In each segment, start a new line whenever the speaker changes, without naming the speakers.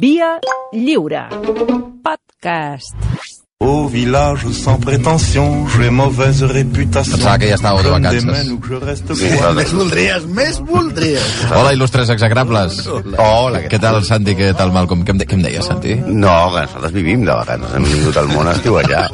Via lliure. Podcast.
Au village sans prétention, j'ai mauvaise réputation.
Pensava que ja estàveu de
Je me
vacances.
démène où je reste
Sí,
coincé.
Més
voldries, més voldries.
Hola, il·lustres exagrables. Hola. Què tal, Santi? Què tal, Malcolm? Què em, de què em deies, Santi?
No, que nosaltres vivim de vacances, hem vingut al món a estiuejar.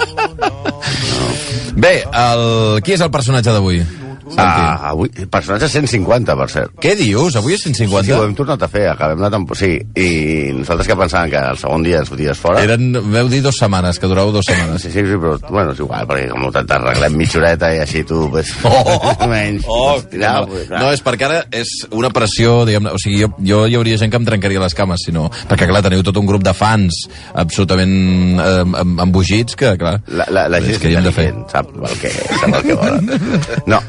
Bé, el... qui és el personatge d'avui? Santi. Ah.
Ah, avui, personatge 150, per cert.
Què dius? Avui és
Sí, ho
150?
hem tornat a fer, acabem la temporada. Sí, i nosaltres que pensàvem que el segon dia ens foties fora...
Eren, veu dir dues setmanes, que durau dues setmanes.
Sí, sí, sí, però bueno, és igual, perquè com t'arreglem mitja horeta i així tu... Pues, menys, pues, tirar, Oh, pues,
oh, no, és perquè ara és una pressió, diguem o sigui, jo, jo hi hauria gent que em trencaria les cames, si no, perquè clar, teniu tot un grup de fans absolutament eh, em- embogits que, clar,
La, la, la gent
és que hi hem de fer.
intel·ligent sap el que, sap el que volen. No,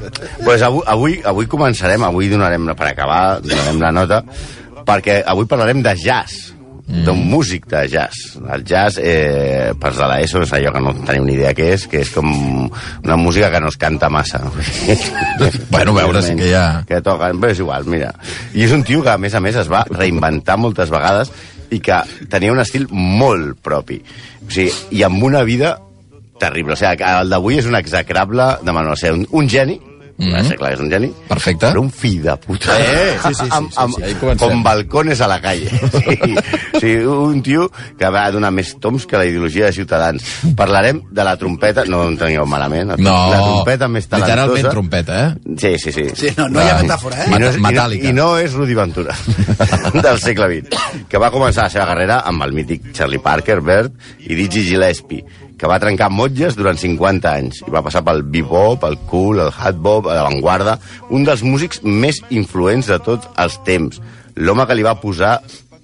pues avui, avui, avui començarem, avui donarem, per acabar, donarem la nota, perquè avui parlarem de jazz, d'un
Mm.
músic de jazz. El jazz, eh, per de l'ESO, és allò que no teniu ni idea què és, que és com una música que no es canta massa.
Bueno, a veure, sí que hi ha-
Que toquen, però és igual, mira. I és un tio que, a més a més, es va reinventar moltes vegades i que tenia un estil molt propi. O sigui, I amb una vida terrible. O sigui, que el d'avui és un execrable de Manuel Ser. Un, un geni, mm
Mhm.
-hmm. clar que és un geni,
Perfecte.
però un fill de puta.
Eh, sí, sí, sí,
amb,
sí,
amb,
sí, ahí comencem.
com balcones a la calle. Sí, sí, un tio que va donar més toms que la ideologia de Ciutadans. Parlarem de la trompeta, no em teniu malament, la,
No,
la trompeta més talentosa.
literalment trompeta, eh?
Sí, sí, sí.
Sí, no, no hi ha metàfora, eh?
I no, és,
Metàl·lica.
I, no, I no és Rudy Ventura, del segle XX, que va començar la seva carrera amb el mític Charlie Parker, Bert i Dizzy Gillespie, que va trencar motlles durant 50 anys i va passar pel bebop, el cool, el hatbop, la vanguarda, un dels músics més influents de tots els temps, l'home que li va posar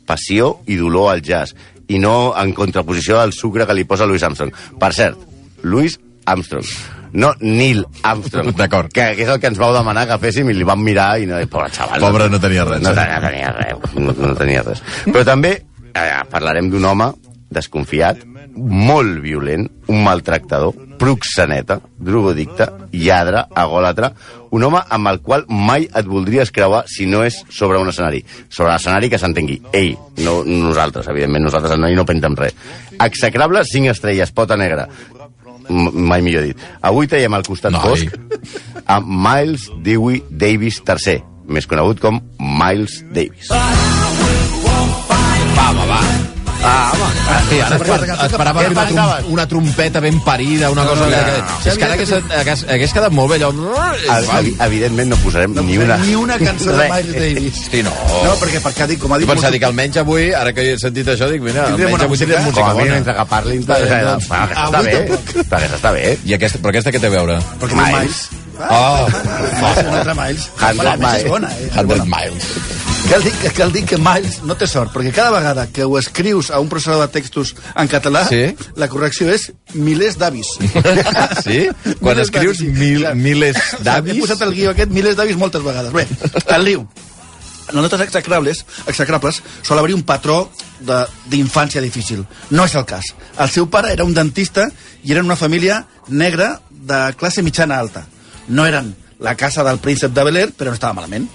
passió i dolor al jazz, i no en contraposició al sucre que li posa Louis Armstrong. Per cert, Louis Armstrong, no Neil Armstrong.
D'acord.
Que, que és el que ens vau demanar que féssim i li vam mirar i no, pobre xaval.
Pobre, no tenia res,
No
eh?
tenia, tenia res, no, no tenia res. Però també eh, parlarem d'un home desconfiat, molt violent, un maltractador, proxeneta, drogodicte, lladre, agòlatre, un home amb el qual mai et voldries creuar si no és sobre un escenari. Sobre l'escenari que s'entengui. Ell, no nosaltres, evidentment, nosaltres no, hi no pentem res. Execrable, 5 estrelles, pota negra. M- mai millor dit. Avui traiem al costat
Noi.
fosc amb Miles Dewey Davis III, més conegut com Miles Davis.
Ah,
Sí, ara esper, esperava
Què
una,
pensaves?
trom una trompeta ben parida, una cosa...
no,
que,
no,
que, És que ara hagués, hagués, hagués quedat molt bé, allò...
Ev- evi- Evidentment no posarem ni una...
Ni una cançó de
Res.
Miles Davis.
Sí, no.
No, perquè per què dic, com ha
Jo
dit...
pensava dir que almenys avui, ara que he sentit això, dic, mira,
Tindrem
almenys
una
avui tindrem
Com
música
a mínim,
bona. doncs,
entre que parlin... doncs, Està Ah,
Avui
bé, perquè està bé.
I aquesta, però aquesta què té a veure?
Perquè Miles. Miles.
Miles.
Oh,
Ah, és un altre Miles.
Hundred
Home, a més,
Miles.
és bona, eh? És
100
bona.
miles.
Cal dir, que- cal dir que Miles no té sort, perquè cada vegada que ho escrius a un processador de textos en català,
Sí.
la correcció és milers d'avis.
Sí? Quan
Milers
escrius
d'avis, sí,
mil,
clar.
miles
He
d'avis...
posat el guió aquest milers d'avis moltes vegades. Bé, el liu. En les notes execrables, execrables sol haver-hi un patró de- d'infància difícil. No és el cas. El seu pare era un dentista i eren una família negra de classe mitjana alta. No eren la casa del príncep de Bel Air, però no estava malament.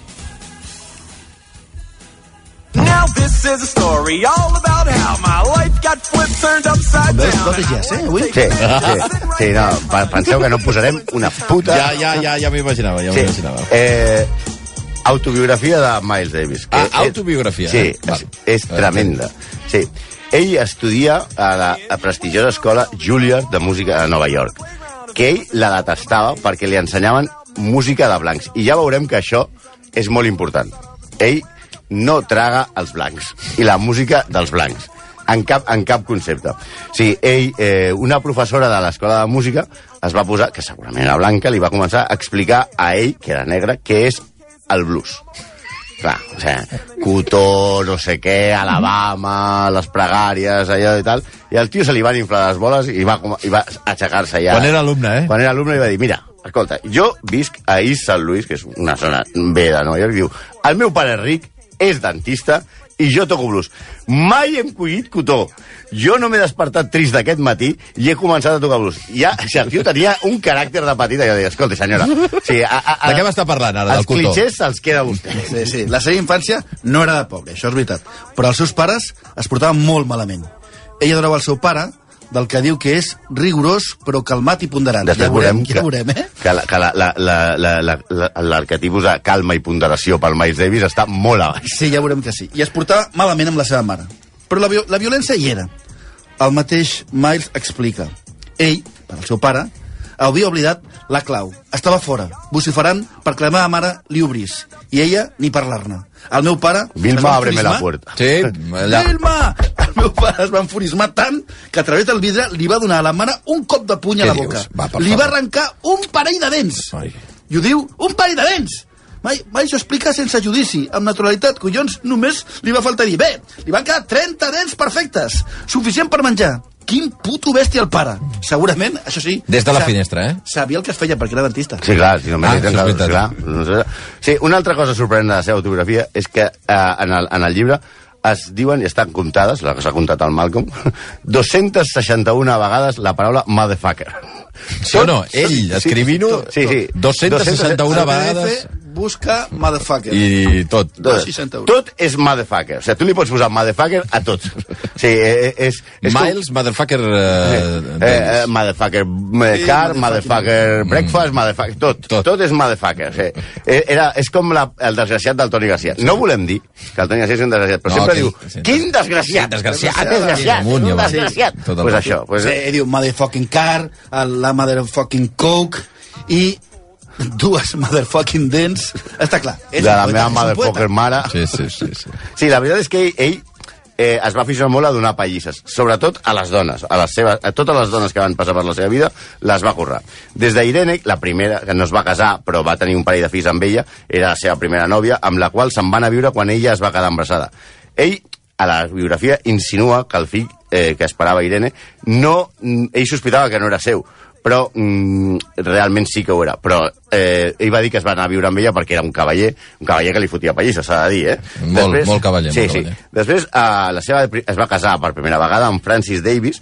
Now this is a story all about how my life got flipped, turned upside
Ves?
down.
Tot és
and I
yes, eh,
went
avui?
to
Sí,
take a
sí,
nap.
sí, no, pe- penseu que no posarem una puta...
Ja, ja, ja, ja m'imaginava, ja
Sí,
m'imaginava.
eh, autobiografia de Miles Davis. que
Ah,
és-
autobiografia,
Sí,
eh?
és,
Val.
és
Ah,
tremenda. Sí. Ell estudia a la a prestigiosa escola Juilliard de música a Nova York, que ell la detestava perquè li ensenyaven música de blancs. I ja veurem que això és molt important. Ell no traga els blancs i la música dels blancs. En cap, en cap concepte. Sí, ell, eh, una professora de l'escola de música es va posar, que segurament era blanca, li va començar a explicar a ell, que era negre, què és el blues. Clar, o sigui, Cotó, no sé què, Alabama, les pregàries, allò i tal. I al tio se li van inflar les boles i va, com- i va aixecar-se ja.
Quan era alumne, eh?
Quan era alumne li va dir, mira, escolta, jo visc a East St. Louis, que és una zona bé de Nova York, i diu, el meu pare és ric, és dentista i jo toco blues. Mai hem collit cotó. Jo no m'he despertat trist d'aquest matí i he començat a tocar blues. Ja, Sergio tenia un caràcter de petita. Jo deia, escolta, senyora... O sigui, a, a, a,
De què m'està parlant, ara, del
Els
cotó?
clichés se'ls queda a vostè.
Sí, sí. La seva infància no era de pobre, això és veritat. Però els seus pares es portaven molt malament. Ella donava al seu pare del que diu que és rigorós però calmat i ponderant.
Després
ja veurem,
que,
ja veurem, eh?
que, la- que la- la- la- la- la- la- l'arquetipus de calma i ponderació pel Miles Davis està molt a baix.
Sí, ja veurem que sí. I es portava malament amb la seva mare. Però la, vi la violència hi era. El mateix Miles explica. Ell, per al seu pare, havia oblidat la clau. Estava fora, vociferant perquè la meva mare li obrís. I ella, ni parlar-ne. El meu pare... es
Vilma,
va
ábreme la
enfurismar-
puerta.
Sí, allà.
Vilma! El meu pare es va enfurismar tant que a través del vidre li va donar a la mare un cop de puny a
Què
la
dius?
boca.
Va, per
li va
favor.
arrencar un parell de dents.
Ai.
I ho diu, un parell de dents! Mai, mai s'ho explica sense judici, amb naturalitat, collons, només li va faltar dir, bé, li van quedar 30 dents perfectes, suficient per menjar. Quin puto bèstia el pare. Segurament, això sí...
Des de la
sa-
finestra, eh?
Sabia el que es feia perquè era dentista.
Sí, clar, si no
Ah,
m'he
això és
ah,
veritat.
clar. No sé. Sí, una altra cosa sorprenent de la seva autobiografia és que eh, en, el, en el llibre es diuen, i estan comptades, la que s'ha comptat el Malcolm, 261 vegades la paraula motherfucker.
Sí o no? Ell,
Sí,
escrivint-ho,
sí, sí.
261
El PDF
vegades
busca motherfucker.
i tot.
Tot,
60 euros.
tot és motherfucker. O sigui, tu li pots posar motherfucker a tot. Sí, eh, eh, és, és com-
Miles, motherfucker...
Eh,
Eh,
eh, motherfucker eh, car, motherfucker breakfast, motherfucker...
Tot.
Tot, Mm. tot, tot és motherfucker. Sí. Eh, Era, és com la, el desgraciat del Toni Garcia. No volem dir que el Toni Garcia és un desgraciat, però
No,
sempre
que-
diu,
sí.
quin desgraciat!
Sí, desgraciat,
Quin desgraciat!
amunt i
un
avall.
desgraciat!
Tot el
pues
rato.
això, pues, eh,
Sí, Eh, diu motherfucking car, eh, la motherfucking coke i dues motherfucking dents. Està clar.
de
és un
la
poeta,
meva
és un
motherfucker
poeta.
mare...
Sí, sí, sí. sí.
Sí, la veritat és que ell, ell eh, es va aficionar molt a donar pallisses, sobretot a les dones, a, les seves, a totes les dones que van passar per la seva vida, les va currar. Des d'Irene, la primera, que no es va casar, però va tenir un parell de fills amb ella, era la seva primera nòvia, amb la qual se'n van a viure quan ella es va quedar embarassada. Ell, a la biografia, insinua que el fill eh, que esperava Irene, no, mm, ell sospitava que no era seu, però mm, realment sí que ho era. Però eh, ell va dir que es va anar a viure amb ella perquè era un cavaller, un cavaller que li fotia pallisses, s'ha de dir, eh?
Molt- molt cavaller,
Sí,
molt
sí.
cavaller.
Després eh, la seva es va casar per primera vegada amb Francis Davis,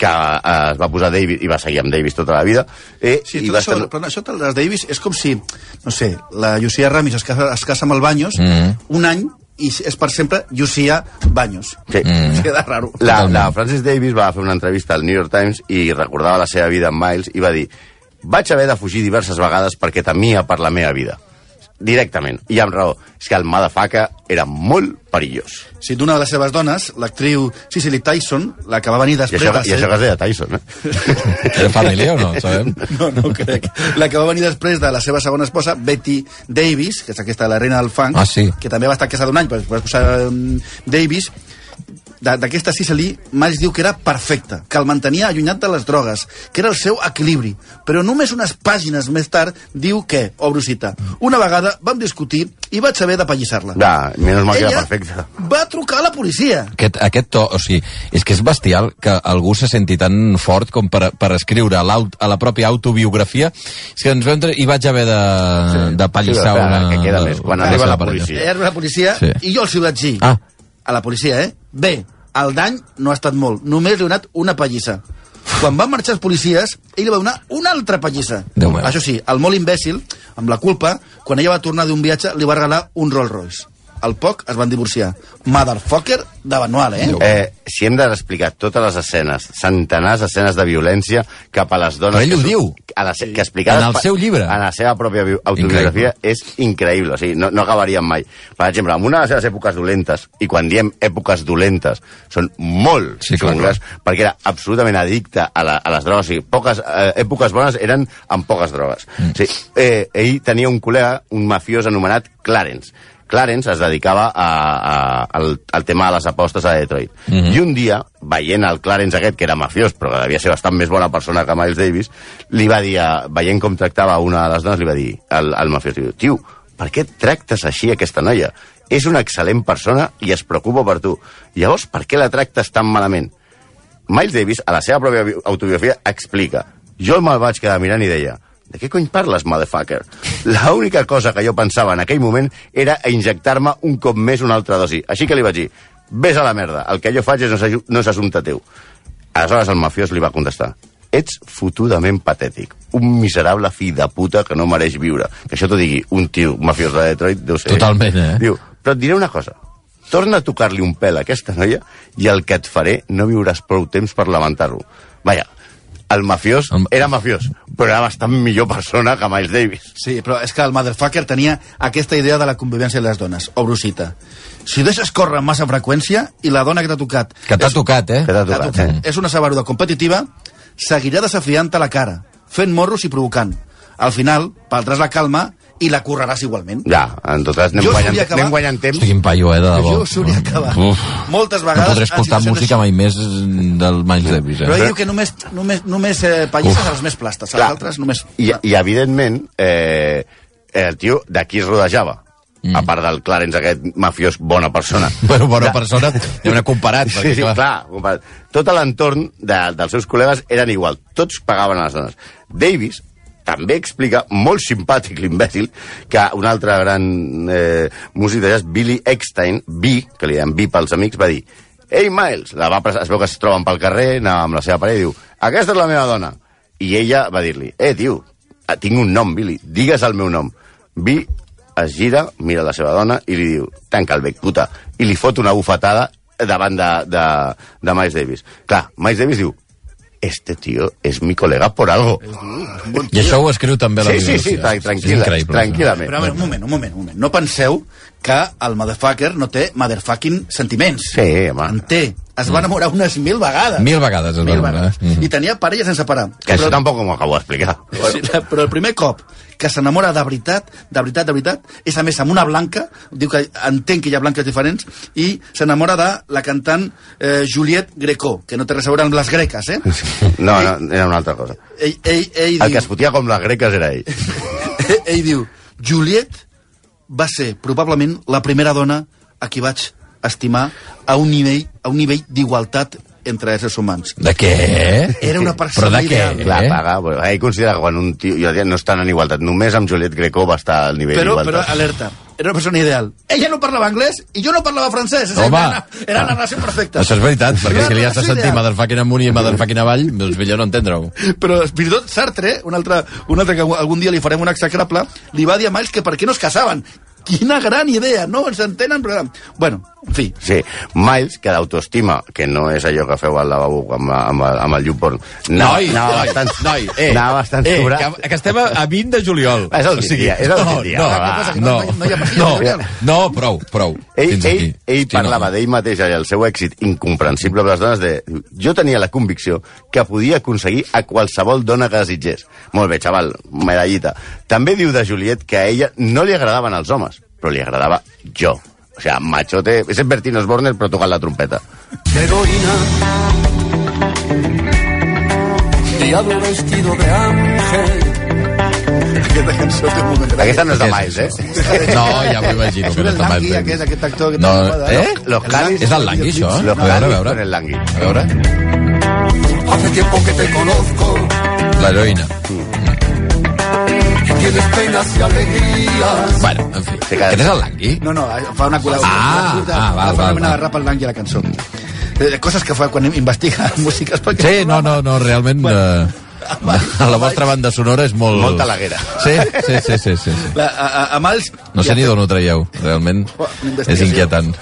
que eh, es va posar Davis i va seguir amb Davis tota la vida. Eh,
Sí,
i
tot
va
això, però això de les Davis és com si, no sé, la Llucia Ramis es casa, es casa amb el Baños
Mhm.
un any i és per sempre Llucia Baños.
Sí.
Mm. Queda raro.
La,
Totalment.
la Francis Davis va fer una entrevista al New York Times i recordava la seva vida amb Miles i va dir vaig haver de fugir diverses vegades perquè temia per la meva vida. Directament. I amb raó. És que el motherfucker era molt perillós.
Sí, d'una de les seves dones, l'actriu Cicely Tyson, la que va venir
I
després...
això,
de
i
ser-
això que es deia Tyson, eh?
Era família o no, ho sabem?
No, no ho crec. La que va venir després de la seva segona esposa, Betty Davis, que és aquesta, la reina del funk,
Ah, sí.
que també va estar casada un any, però després posar um, Davis, Da- d'aquesta Cicely, Miles diu que era perfecta, que el mantenia allunyat de les drogues, que era el seu equilibri. Però només unes pàgines més tard diu que, obro cita, una vegada vam discutir i vaig haver d'apallissar-la.
Da, menys mal que era
Ella
perfecte.
va trucar a la policia.
Aquest, aquest to, o sigui, és que és bestial que algú se senti tan fort com per, per escriure a, l'aut- a la pròpia autobiografia. És que ens vam tre- i vaig haver de, sí, de pallissar
Sí, però,
una...
que queda més, quan
una
arriba la
seva parella.
policia. Sí.
Era una policia
Sí.
sí. i jo els hi vaig dir.
Ah.
A la policia, eh? Bé, el dany no ha estat molt. Només li he donat una pallissa. Quan van marxar els policies, ell li va donar una altra pallissa.
Déu meu.
Això sí, el molt imbècil, amb la culpa, quan ella va tornar d'un viatge, li va regalar un Rolls Royce. Al poc es van divorciar. Motherfucker de Benoit, eh?
Eh, si hem d'explicar totes les escenes, centenars d'escenes de violència cap a les dones...
Però ell
que
ho
su-
diu.
A les, que explicades
En el
per-
seu llibre.
En la seva pròpia bio- autobiografia és increïble, o sigui, no, no acabaríem mai. Per exemple, en una de les seves èpoques dolentes, i quan diem èpoques dolentes, són molt
Sí, clar,
xungles, perquè era absolutament addicte a, la, a les drogues, o sigui, poques, eh, èpoques bones eren amb poques drogues. Mm. O sigui, eh, ell tenia un col·lega, un mafiós anomenat Clarence, Clarence es dedicava a, a, al, al tema de les apostes a Detroit. Mm -hmm. I un dia, veient el Clarence aquest, que era mafiós, però que devia ser bastant més bona persona que Miles Davis, li va dir, a, veient com tractava una de les dones, li va dir al, al mafiós, diu, tio, per què tractes així aquesta noia? És una excel·lent persona i es preocupa per tu. Llavors, per què la tractes tan malament? Miles Davis, a la seva pròpia bi- autobiografia, explica jo me'l vaig quedar mirant i deia de què cony parles, motherfucker? L'única cosa que jo pensava en aquell moment era a injectar-me un cop més una altra dosi. Així que li vaig dir, vés a la merda, el que jo faig és no s'aju- no és assumpte teu. Aleshores el mafiós li va contestar, ets fotudament patètic, un miserable fill de puta que no mereix viure. Que això t'ho digui un tio mafiós de Detroit, deu ser...
Totalment, eh?
Diu, però et diré una cosa, torna a tocar-li un pèl a aquesta noia i el que et faré no viuràs prou temps per lamentar-ho. Vaja, el mafiós
El-
era mafiós, però era bastant millor persona que Miles Davis.
Sí, però és que el motherfucker tenia aquesta idea de la convivència de les dones, o brusita. Si ho deixes córrer amb massa freqüència i la dona que t'ha tocat...
Que t'ha
és-
tocat, eh?
Que t'ha
t'ha
tocat,
tocat,
eh?
És una sabaruda competitiva, seguirà desafiant-te la cara, fent morros i provocant. Al final, perdràs la calma i la correràs igualment.
Ja, en tot cas, anem,
Jo us
guanyant,
volia acabar-
anem guanyant temps.
Hosti, quin paio, eh, de debò.
Jo us hauria acabat.
Uf.
Moltes vegades
No podré
en
escoltar
situacions
música mai més del Miles Davis,
Però
eh?
ell diu que només, només, només eh, pallisses
Uf.
als més plastes,
Clar.
als altres només...
I, I, evidentment, eh, el tio d'aquí es rodejava. Mm. A part del Clarence, aquest mafiós bona persona.
Bueno, bona persona, ja m'he comparat.
Sí, sí, clar. comparat. Tot l'entorn de, dels seus col·legues eren igual. Tots pagaven a les dones. Davis també explica, molt simpàtic l'imbècil, que un altre gran eh, músic de jazz, Billy Eckstein, B, que li deien B pels amics, va dir Ei, Miles! La va, pres- es veu que es troben pel carrer, anava amb la seva parella i diu Aquesta és la meva dona. I ella va dir-li Eh, tio, eh, tinc un nom, Billy, digues el meu nom. B es gira, mira la seva dona i li diu tanca el bec, puta, i li fot una bufetada davant de, de, de Miles Davis. Clar, Miles Davis diu este tío es mi colega por algo.
I això ho escriu també la
Sí, sí, sí,
biografia.
tra-
És
tranquil·la,
increïble,
tranquil·lament.
Però a veure, un moment, un moment, un moment. No penseu que el motherfucker no té motherfucking sentiments.
Sí, home.
En té. Es va enamorar unes mil vegades.
Mil vegades es va Mhm.
Mil
enamorar.
vegades. I tenia parella sense parar.
eh? Mm. Que això tampoc m'ho acabo d'explicar.
Sí, la- però el primer cop que s'enamora de veritat, de veritat, de veritat, és a més amb una blanca, diu que entén que hi ha blanques diferents, i s'enamora de la cantant eh, Juliette Greco, que no té res a veure amb les greques, eh?
No, no, era una altra cosa.
Ell, ell, ell,
El que
diu,
es fotia com les greques era ell.
ell, ell diu, Juliette va ser probablement la primera dona a qui vaig estimar a un nivell, a un nivell d'igualtat entre éssers humans.
De què?
Era una persona
Però de què?
ideal.
Clar,
Eh?
paga. però Ell considera que quan un tio... Jo diria, no estan en igualtat. Només amb Juliet Greco va estar al nivell
Però, però
d'igualtat.
alerta, era una persona ideal. Ella no parlava anglès i jo no parlava francès. És a dir,
Home. Ah.
Era, era la relació perfecta.
Això és veritat, perquè
Era
si li has de
relació
sentir
ideal.
motherfucking amunt i motherfucking avall, doncs millor no entendre-ho.
Però fins i tot Sartre, un altre, un altre que algun dia li farem un execrable, li va dir a Miles que per què no es casaven. Quina gran idea, no? Ens entenen? Però... Bueno, en fi.
Sí, Miles, que d'autoestima, que no és allò que feu al lavabo amb, amb, amb el llum porn, anava,
Noi,
anava
noi,
bastant,
noi, eh,
anava bastant
eh,
sobrat.
que, que estem a, a 20 de juliol.
És el dia, és el
no,
dia,
No,
va.
Què passa, que
no,
no- no hi ha
no,
partida, Juliol?
no, prou, prou.
Ell,
Fins
ell,
aquí.
ell
Hosti, no.
parlava d'ell mateix i el seu èxit incomprensible amb les dones de... diu, Jo tenia la convicció que podia aconseguir a qualsevol dona que desitgés. Molt bé, xaval, medallita. També diu de Juliet que a ella no li agradaven els homes, però li agradava jo. O sea, machote... És en Bertín Osborne, però tocant la trompeta.
heroína. Diablo vestido de ángel.
Aquesta cançó té un moment
Aquesta no és de Miles,
Aquesta és
eh?
No, ja m'ho imagino. que
Surt el
no
Langui, aquest- aquest actor que
no,
tant m'agrada,
eh?
no? Los Canis-
És el Langui, això? eh?
Los
a veure, a
Canis
veure.
Ah, con el Langui.
A veure,
Hace tiempo que te conozco.
l'heroïna.
que Tienes penas y alegrías.
Bueno, en fi.
Sí, cada-
Aquest és el Langui?
No, no, fa una col·laboració.
Ah, ah, val,
Fa
val,
una mena
val.
de rap al Langui a la cançó. Eh, Coses que fa quan investiga músiques. Perquè
Sí, no, no, no, realment... eh, la, la vostra banda sonora és molt...
Molt Balaguer.
Sí, sí, sí, sí, sí. sí.
La, a, a, a Miles...
No sé
ja
ni
té-
d'on ho traieu, realment.
Una
És
investigació.
inquietant.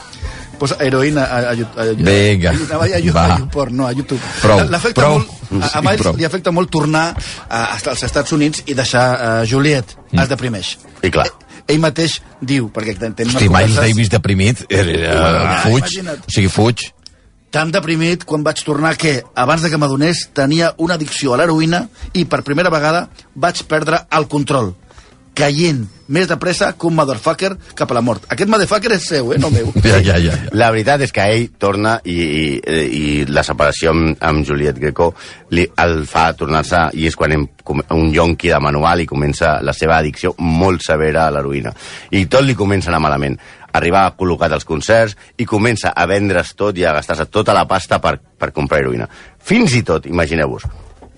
Posa heroïna a, a, a, a
Vinga,
Anava a, a,
va.
a, YouPorn, no, a YouTube.
Prou,
L'afecta
prou.
molt, a, a
Sí,
Miles
prou.
li afecta molt tornar a, als Estats Units i deixar a Juliet. Mm. Es deprimeix. Eh,
I clar.
Ell mateix diu, perquè ten- tenim
Hosti, Miles Davis deprimit, eh, fuig,
imagina't.
o sigui, fuig.
tan deprimit quan vaig tornar que, abans de que m'adonés, tenia una addicció a l'heroïna i per primera vegada vaig perdre el control, caient més de pressa que un motherfucker cap a la mort. Aquest motherfucker és seu, eh, no meu.
Ja, ja, ja. ja.
La veritat és que ell torna i, i, i la separació amb, amb Juliet Greco li, el fa tornar-se i és quan em, com- un yonqui de manual i comença la seva addicció molt severa a l'heroïna. I tot li comença a anar malament. Arriba col·locat als concerts i comença a vendre's tot i a gastar-se tota la pasta per, per comprar heroïna. Fins i tot, imagineu-vos,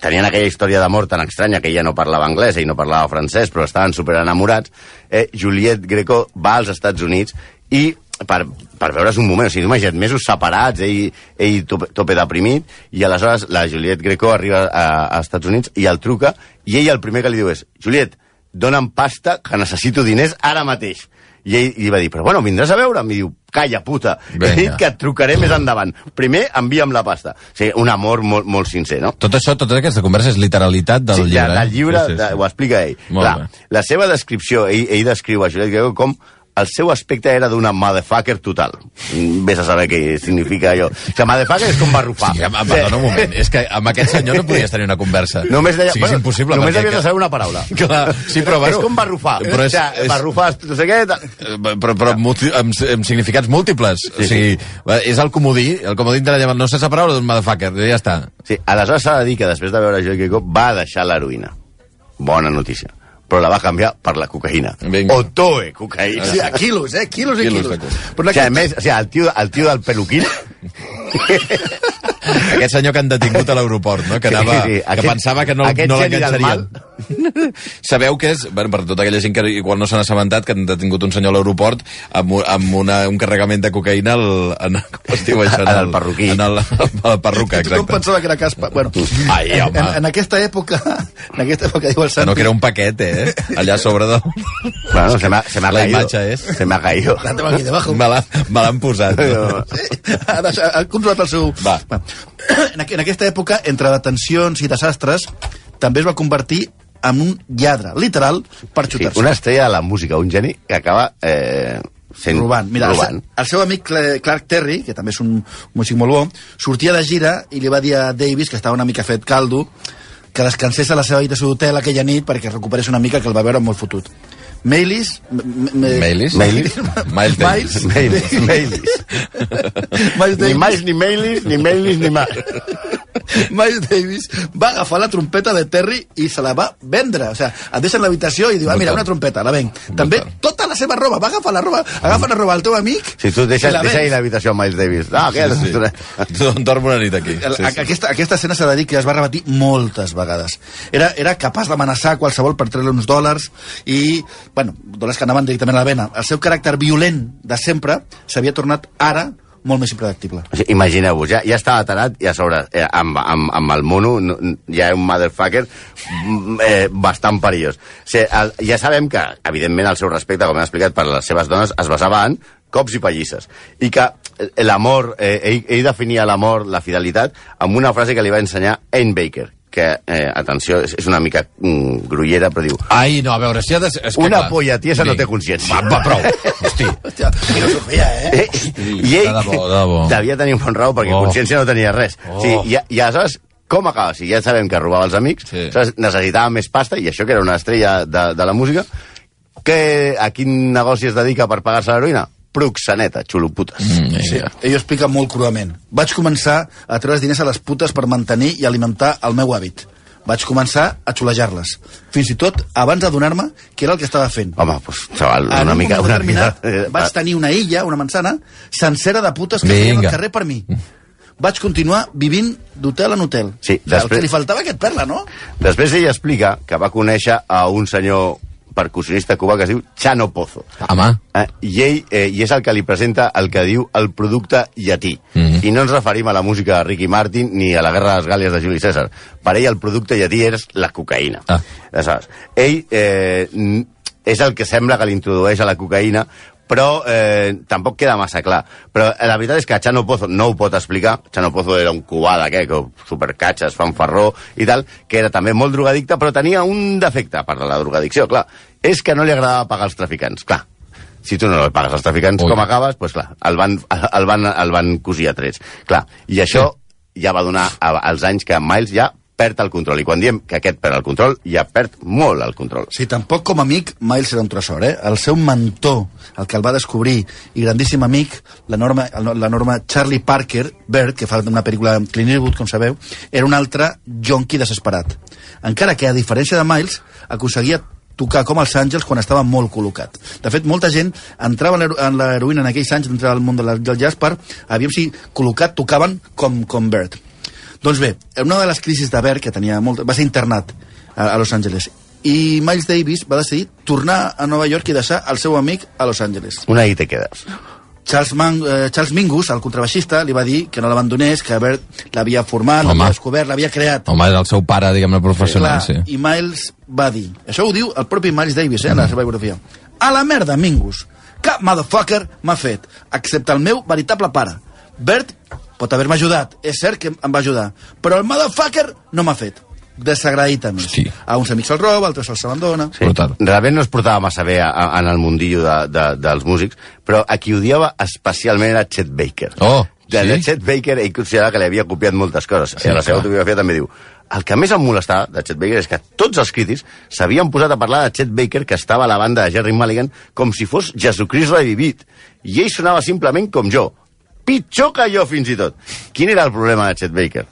tenien aquella història d'amor tan estranya que ella no parlava anglès i no parlava francès, però estaven super enamorats, eh, Juliet Greco va als Estats Units i per, per veure's un moment, o sigui, imagina't, mesos separats, ell, ell tope, tope deprimit, i aleshores la Juliet Greco arriba a, a Estats Units i el truca, i ell el primer que li diu és, Juliet, dona'm pasta, que necessito diners ara mateix. I ell li va dir, però bueno, vindràs a veure'm? I diu, calla, puta, he
Vinga.
dit que et trucaré més endavant. Primer, envia'm la pasta. O sigui, un amor molt, molt sincer, no?
Tot això, tota aquesta conversa és literalitat del
sí,
llibre.
Ja,
eh?
del llibre sí, sí, sí. ho explica ell.
Molt
Clar,
bé.
la seva descripció, ell, ell descriu a Juliet Greco com el seu aspecte era d'una motherfucker total. Mm, Vés a saber què significa allò. O sigui, motherfucker és com barrufar.
Sí, em- em perdona un moment, és que amb aquest senyor no podies tenir una conversa.
Només deia,
o sigui, és impossible.
només
perquè-
havies de saber una paraula.
Clar, sí, però, bueno,
és com barrufar.
Però és,
o sigui,
és,
barrufar, no sé què... tal.
Eh, però, però amb, multi- amb, amb significats múltiples. Sí, o sigui, va, és el comodí, el comodí de la llevant. No sé la paraula d'un motherfucker, ja està.
Sí, aleshores s'ha de dir que després de veure Joel Greco va deixar l'heroïna. Bona notícia. Però la va canviar per la cocaïna.
Vinga.
O toe cocaïna.
Sí, a quilos, eh? Quilos i
Quilos
quilos.
de coca.
Però
O sigui, a
aquest...
més, o sigui, el, tio, el tio del peluquín...
Aquest senyor que han detingut a l'aeroport, no? que,
Sí,
anava,
sí,
que
aquest-
pensava que no,
aquest
no
geni del
l'enganxarien. Sabeu que és, bueno, per tota aquella gent que igual no s'han assabentat, que han detingut un senyor a l'aeroport amb, un- amb una, un carregament de cocaïna al, en, com es diu això?
En el perruquí.
En el, a la perruca,
Tothom
exacte.
pensava que era caspa. Bueno,
Ai,
en,
Eh, home.
en, en, aquesta època, en aquesta època, diu el
Que
Santi,
no, que era un paquet, eh? Allà a sobre del...
Bueno, se m'ha se m'ha
La
caído.
imatge és-
Se m'ha caído.
la teva aquí debajo.
Me l'ha- me l'han posat. eh? No?
Sí, ara s'ha- ha controlat el seu...
Va.
Va. En, aqu- en aquesta època, entre detencions i desastres, també es va convertir en un lladre, literal, per
Sí,
xutar-se.
una estrella de la música, un geni que acaba eh, sent...
Robant. Mira, el,
robant.
se- el seu amic Cla- Clark Terry, que també és un músic molt bo, sortia de gira i li va dir a Davis, que estava una mica fet caldo, que descansés a la seva habitació d'hotel aquella nit perquè es recuperés una mica, que el va veure molt fotut. Mailis... m- m-
Mailis?
Mailis?
Miles Davis.
Mailis,
Miles.
Mailis. Ni
Miles Davis.
mais, ni Mailis, ni Mailis, ni más.
Miles Davis va agafar la trompeta de Terry i se la va vendre. O sigui, et deixen l'habitació i diu, ah, mira,
Brutal.
una trompeta, la venc. També tota la seva roba, va agafar la roba, agafa la roba al teu amic
Si tu deixes,
i la
deixes ahir
vens.
l'habitació a Miles Davis. Ah, No, què?
Sí, sí. Dorm- Dormo una nit aquí.
El,
Sí, sí.
Aquesta, aquesta escena s'ha de dir que es va repetir moltes vegades. Era, era capaç d'amenaçar qualsevol per treure uns dòlars i, bueno, dòlars que anaven directament a la vena. El seu caràcter violent de sempre s'havia tornat ara molt més impredictible.
O sigui, Imagineu-vos, ja, ja estava tarat i a sobre, eh, amb, amb, amb el mono, no, ja era un motherfucker mm, eh, bastant perillós. O sigui, el, ja sabem que, evidentment, el seu respecte, com hem explicat, per les seves dones es basava en cops i pallisses. I que eh, l'amor, eh, ell, ell definia l'amor, la fidelitat, amb una frase que li va ensenyar Anne Baker, que, eh, atenció, és, és una mica mm, grullera, però diu...
Ai, no, a veure, si ha de... ser- És que,
Una
clar,
polla tiesa no
vinga.
té consciència.
Va, va, prou. Hosti.
Hòstia, filosofia, eh?
Eh? I ell
de debò, de debò.
devia tenir un bon raó perquè
Oh.
oh. consciència no tenia res.
Oh.
Oh. O sigui, i, I aleshores, com acaba? Si ja sabem que robava els amics,
Sí.
sí. necessitava més pasta, i això que era una estrella de, de la música, que a quin negoci es dedica per pagar-se l'heroïna? Proxeneta, xuloputes. Mm.
Sí, ell ho explica molt cruament. Vaig començar a treure els diners a les putes per mantenir i alimentar el meu hàbit. Vaig començar a xulejar-les. Fins i tot abans d'adonar-me que era el que estava fent.
Home, doncs, xaval,
en
una
un
mica...
moment
Una mica... Eh,
determinat vaig tenir una illa, una manzana, sencera de putes que
Vinga.
feien al carrer per mi. Vaig continuar vivint d'hotel en hotel.
Sí,
després... El
després-
que li faltava aquest perla, no?
eh, Després ell explica que va conèixer a un senyor percussionista cubà que es diu Chano Pozo.
Home,
Eh, i ell eh, i és el que li presenta el que diu el producte llatí. Mm -hmm. I no ens referim a la música de Ricky Martin ni a la Guerra de les Gàlies de Juli César. Per ell el producte llatí és la cocaïna.
Ah.
Aleshores, ell eh, n- és el que sembla que l'introdueix a la cocaïna, però eh, tampoc queda massa clar. Però eh, la veritat és que Chano Pozo no ho pot explicar. Chano Pozo era un cubà d'aquest, que supercatxes, fanfarró i tal, que era també molt drogadicte, però tenia un defecte, a part de la drogadicció, clar. És que no li agradava pagar els traficants, clar. Si tu no el pagues als traficants,
Ui.
Ui. com acabes, doncs clar, el van, el van, el van cosir a trets. Clar, i això sí. ja va donar a, als anys que Miles ja perd el control. I quan diem que aquest perd el control, ja perd molt el control.
Sí, tampoc com a amic Miles era un tresor, eh? El seu mentor, el que el va descobrir, i grandíssim amic, la norma, el- la norma Charlie Parker, Bird, que fa una pel·lícula amb Clint Eastwood, com sabeu, era un altre jonqui desesperat. Encara que, a diferència de Miles, aconseguia tocar com els Àngels quan estava molt col·locat. De fet, molta gent entrava en l'hero- en l'heroïna en aquells anys d'entrar al món de la- del jazz per, aviam si col·locat tocaven com, com Bird. Doncs bé, en una de les crisis de Berg, que tenia molt... va ser internat a, a Los Angeles, i Miles Davis va decidir tornar a Nova York i deixar el seu amic a Los Angeles.
Una i te quedes.
Charles, Man, eh, Charles Mingus, el contrabaixista, li va dir que no l'abandonés, que Bert l'havia format,
Home.
l'havia descobert, l'havia creat.
Home, era el seu pare, diguem-ne, professional, sí.
I Miles va dir... Això ho diu el propi Miles Davis,
Mm.
eh, en la seva biografia. A la merda, Mingus. Cap motherfucker m'ha fet, excepte el meu veritable pare. Bert pot haver-me ajudat, és cert que em va ajudar, però el motherfucker no m'ha fet. Desagradit, a més.
Hosti.
A uns amics se'l roba, a altres se'ls abandona...
Sí. Brutal.
Realment no es portava massa bé a, a, en el mundillo de, de, dels músics, però a qui odiava especialment era Chet Baker.
Oh,
de, de
sí?
Chet Baker ell considerava que li havia copiat moltes coses.
Sí,
Sí, I a la seva
clar.
autobiografia també diu el que més em molestava de Chet Baker és que tots els crítics s'havien posat a parlar de Chet Baker que estava a la banda de Jerry Mulligan com si fos Jesucrist revivit. I ell sonava simplement com jo. Pitjor que jo, fins i tot. Quin era el problema de Chet Baker?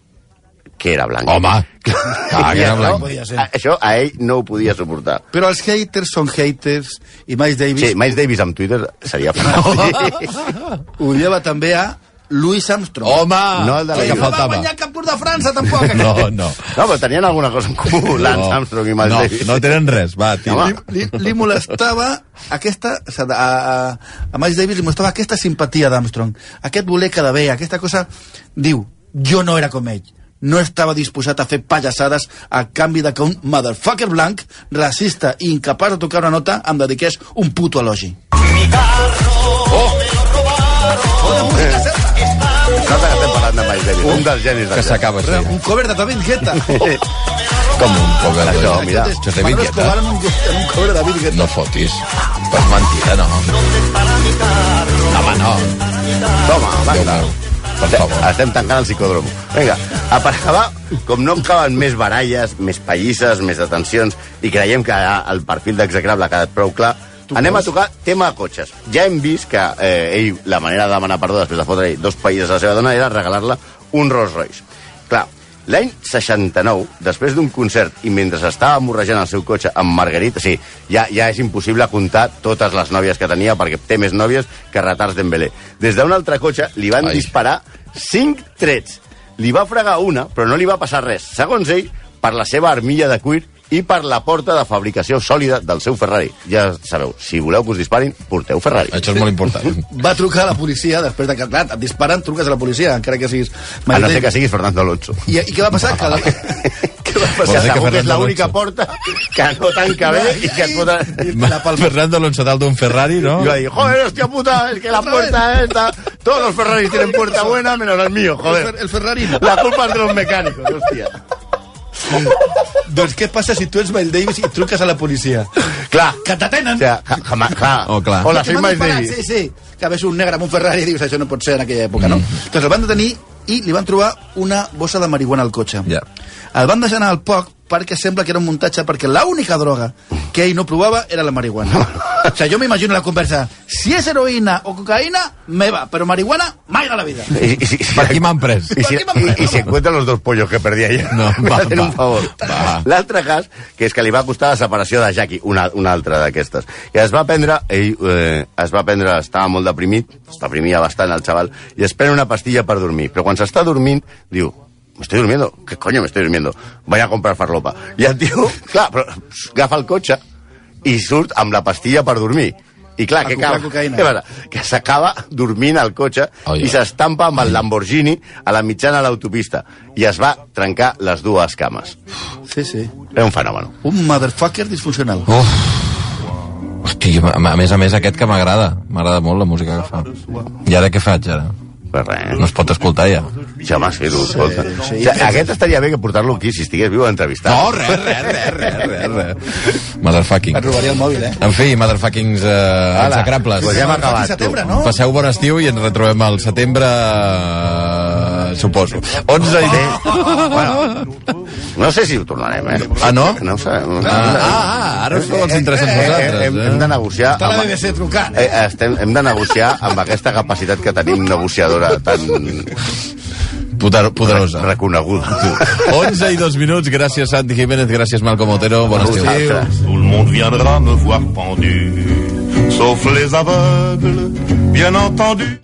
Que era blanc.
Home, clar, que era
I
blanc.
podia
això,
ser.
això a ell no ho podia suportar.
Però els haters són haters i Miles Davis
Sí, Miles Davis amb Twitter seria fantàstic.
odiava també a Louis Armstrong.
Home,
No el de
el que
la Lliga.
no va
faltava.
guanyar cap Tour de França, tampoc. aquest.
No, no.
No, però tenien alguna cosa en comú, Lance
No.
Armstrong i Miles
no,
Davis.
No tenen res, va, tira.
Home.
Li, li, li molestava aquesta... O sigui, a, a, a Miles Davis li molestava aquesta simpatia d'Armstrong, aquest voler quedar bé, aquesta cosa... Diu, jo no era com ell. No estava disposat a fer pallassades a canvi de que un motherfucker blanc, racista i incapaç de tocar una nota, em dediqués un puto elogi.
Nota que estem parlant de eh? Miles Davis, un dels genis
Que
del jazz.
s'acaba així.
Un cover de David Guetta.
Com un cover de...
Això, mira,
Això és de
Manolo
Guetta.
Escobar en un, en un cover de David Guetta.
No fotis. Però és mentida, no. Home, no.
Toma,
Déu
vinga.
meu. Per favor.
Estem tancant el psicòdrom. Vinga, a per acabar, com no em caben més baralles, més pallisses, més detencions, i creiem que ara el perfil d'execrable ha quedat prou clar, anem a tocar tema de cotxes. Ja hem vist que eh, ell, la manera de demanar perdó després de fotre dos països a la seva dona era regalar-la un Rolls Royce. Clar, l'any 69, després d'un concert i mentre estava morrejant el seu cotxe amb Margarita, sí, ja, ja és impossible comptar totes les nòvies que tenia perquè té més nòvies que retards d'Embelé. Des d'un altre cotxe li van
Ai.
disparar disparar 5 trets. Li va fregar una, però no li va passar res. Segons ell, per la seva armilla de cuir i per la porta de fabricació sòlida del seu Ferrari. Ja sabeu, si voleu que us disparin, porteu Ferrari.
Això és molt important.
va trucar a la policia després de que clar, et disparen, truques a la policia, encara que siguis...
A no ser que siguis Fernando Alonso.
I, I què va passar? Que la...
Què
Vol
va
dir que
passar? Segur que és
Fernando
l'única
Alonso.
porta que no tanca bé i que et foten...
La palma.
Fernando Alonso dalt d'un Ferrari, no?
Y yo ahí, joder, hostia puta, es que la puerta esta... Todos los Ferraris tienen puerta buena, menos el mío,
El
joder.
Fer- el Ferrarino.
La culpa es de los mecánicos, hostia.
doncs què passa si tu ets Miles Davis i truques a la policia?
Clar,
Que t'atenen!
O sea, ja- jamás, claro.
Oh, clar.
Hola,
Que
soy
m'han
Miles
disparat,
Davis.
Sí, sí. Que ves un negre amb un Ferrari i dius això no pot ser en aquella època, no? Doncs el van detenir i li van trobar una bossa de marihuana al cotxe.
Ja.
El van deixar anar al poc perquè sembla que era un muntatge perquè l'única droga que ell no provava era la marihuana. o sigui, jo m'imagino la conversa. Si és heroïna o cocaïna, me va, però marihuana, mai a la vida.
Y, y si-
Per aquí m'han pres.
y si-
Aquí m'han pres.
y- y si encuentran los dos pollos que perdí ayer,
No,
me
va,
hacen
va,
un favor.
va.
L'altre cas, que és que li va costar la separació de Jackie, una, una altra d'aquestes. I es va prendre, ell eh, es va prendre, estava molt deprimit, es deprimia bastant el xaval, i es pren una pastilla per dormir. Però quan s'està dormint, diu, me estoy durmiendo, ¿qué coño me estoy durmiendo? Vaig a comprar farlopa. I el tio, clar, però, agafa el cotxe i surt amb la pastilla per dormir. I clar,
A
què
comprar
acaba?
cocaïna.
Què passa? Que s'acaba dormint al cotxe
Ai,
i
ai.
s'estampa amb el Lamborghini a la mitjana de l'autopista i es va trencar les dues cames.
Sí, sí.
Era un fenomen.
Un motherfucker disfuncional.
Uf. Hosti, a a més a més aquest que m'agrada. M'agrada molt la música que fa. I ara què faig, ara?
Però res, eh?
No es pot escoltar, ja.
ja m'has fet un escolta. O sigui, aquest estaria bé que portar-lo aquí si estigués viu a entrevistar.
No, res, res, res, res, res, res. Motherfucking.
Et robaria el mòbil, eh?
En fi, motherfuckings eh, execrables.
Pues ja hem
Fins
acabat, tu.
setembre, no?
Passeu bon estiu i ens retrobem al setembre... eh, suposo. 11 i...
Bueno, no sé si ho tornarem, eh?
Ah, no?
No ho sabem.
Ah, ah, ara us feu els interessants vosaltres.
Eh, Hem, hem de
eh?
negociar...
Està la
amb-
BBC trucant, eh?
Eh, estem, hem de negociar amb aquesta capacitat que tenim negociadora tan
Poder- Poderosa.
reconeguda.
11 i 2 minuts, gràcies Santi Jiménez, gràcies Malcom Otero, bon estiu.
vosaltres.
Tout le monde viendra me voir pendu, sauf les aveugles, bien entendu.